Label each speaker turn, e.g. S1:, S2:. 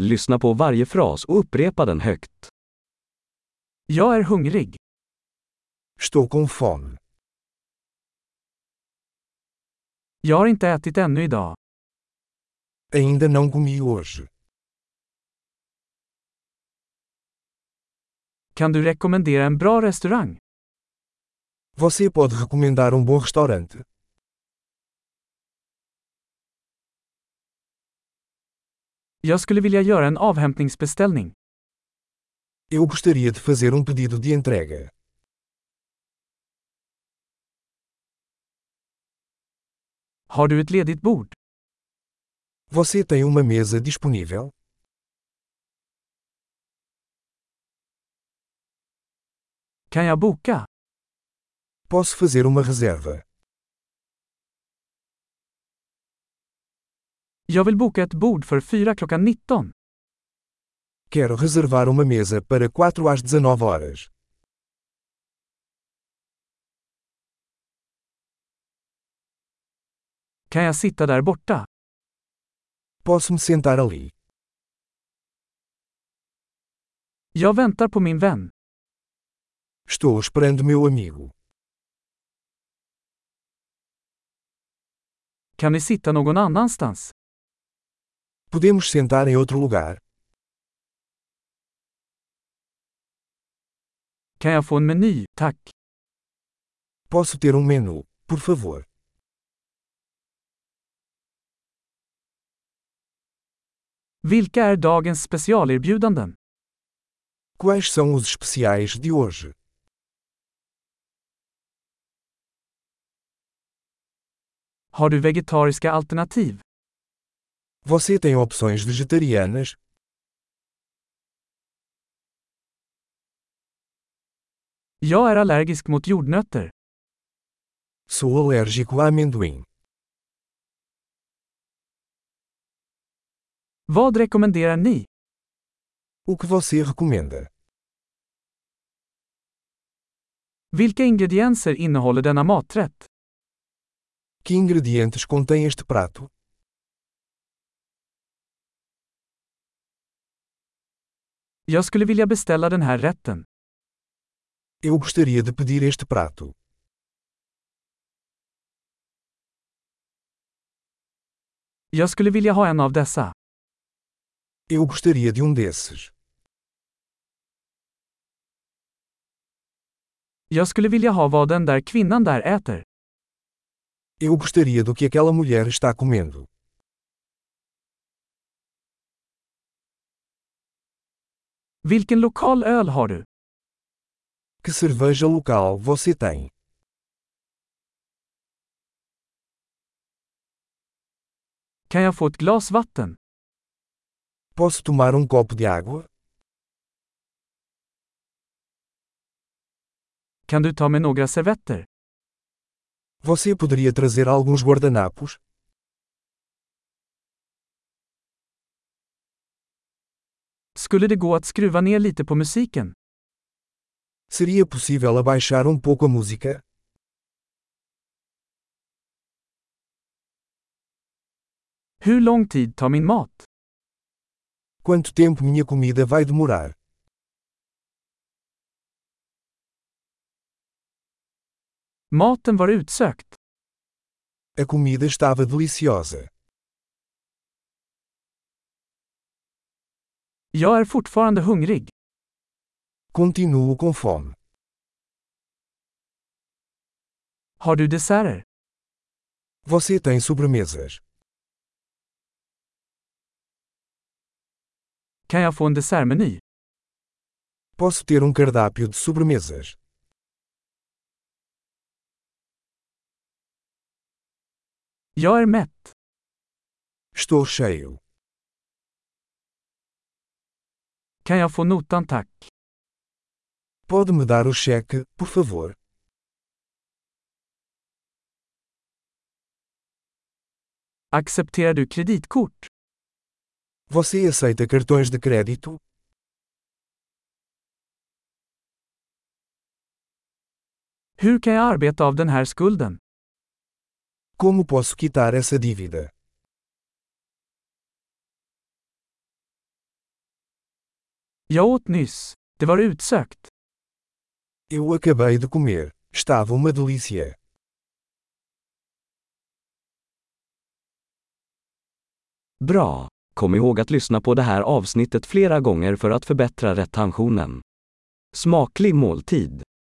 S1: Lyssna på varje fras och upprepa den högt. Jag är hungrig.
S2: Estou com fome.
S1: Jag har inte ätit ännu idag.
S2: Ainda não comi hoje.
S1: Kan du rekommendera en bra restaurang?
S2: Você pode recomendar um bom restaurante?
S1: Jag skulle vilja göra en avhämtningsbeställning.
S2: Eu gostaria de fazer um pedido de entrega.
S1: Har du ett ledigt bord?
S2: Você tem uma mesa disponível?
S1: Kan jag boka?
S2: Posso fazer uma reserva.
S1: Jag vill boka ett bord för 4 klockan 19.
S2: Quero reservar uma mesa para 4 às 19 horas.
S1: Kan jag sitta där borta?
S2: Posso me sentar ali.
S1: Jag väntar på min vän.
S2: Estou esperando meu amigo.
S1: Kan vi sitta någon annanstans?
S2: Podemos sentar em outro lugar?
S1: Kan jag få en meny, tack?
S2: Posso ter um menu, por favor?
S1: Vilka är dagens specialerbjudanden?
S2: Quais são os especiais de hoje?
S1: Har du vegetariska alternativ?
S2: Você tem opções vegetarianas?
S1: Jag är allergisk mot jordnötter.
S2: Sou alérgico a amendoim.
S1: Vad rekommenderar ni?
S2: O que você recomenda?
S1: Vilka ingredienser innehåller denna maträtt?
S2: Que ingredientes contém este prato?
S1: Jag skulle vilja beställa den här rätten.
S2: Eu gostaria de pedir este prato.
S1: Jag skulle vilja ha en av dessa.
S2: Eu gostaria de um desses.
S1: Jag skulle vilja ha vad den där kvinnan där äter.
S2: Eu gostaria do que aquela mulher está comendo.
S1: Vilken lokal öl har du?
S2: Que cerveja local você tem?
S1: Kan jag få ett glas vatten?
S2: Posso tomar um copo de água?
S1: Kan du ta med några servetter?
S2: Você poderia trazer alguns guardanapos?
S1: Skulle det gå att skruva ner lite på musiken?
S2: Seria possível abaixar um pouco a música?
S1: Hur lång tid tar min mat?
S2: Quanto tempo minha comida vai demorar?
S1: Maten var utsökt.
S2: A comida estava deliciosa.
S1: Jag är fortfarande hungrig.
S2: Continuo com fome.
S1: Har du desserter?
S2: Você tem sobremesas?
S1: Kan jag få en dessertmeny?
S2: Posso ter um cardápio de sobremesas?
S1: Jag är mätt.
S2: Estou cheio.
S1: Kan jag få notan tack?
S2: Pode me dar o cheque, por favor?
S1: Accepterar du kreditkort?
S2: Você aceita cartões de crédito?
S1: Hur kan jag arbeta av den här skulden?
S2: Como posso quitar essa dívida?
S1: Jag åt nyss. Det var utsökt.
S2: Eu acabei de comer. Estava uma delícia.
S3: Bra! Kom ihåg att lyssna på det här avsnittet flera gånger för att förbättra retentionen. Smaklig måltid!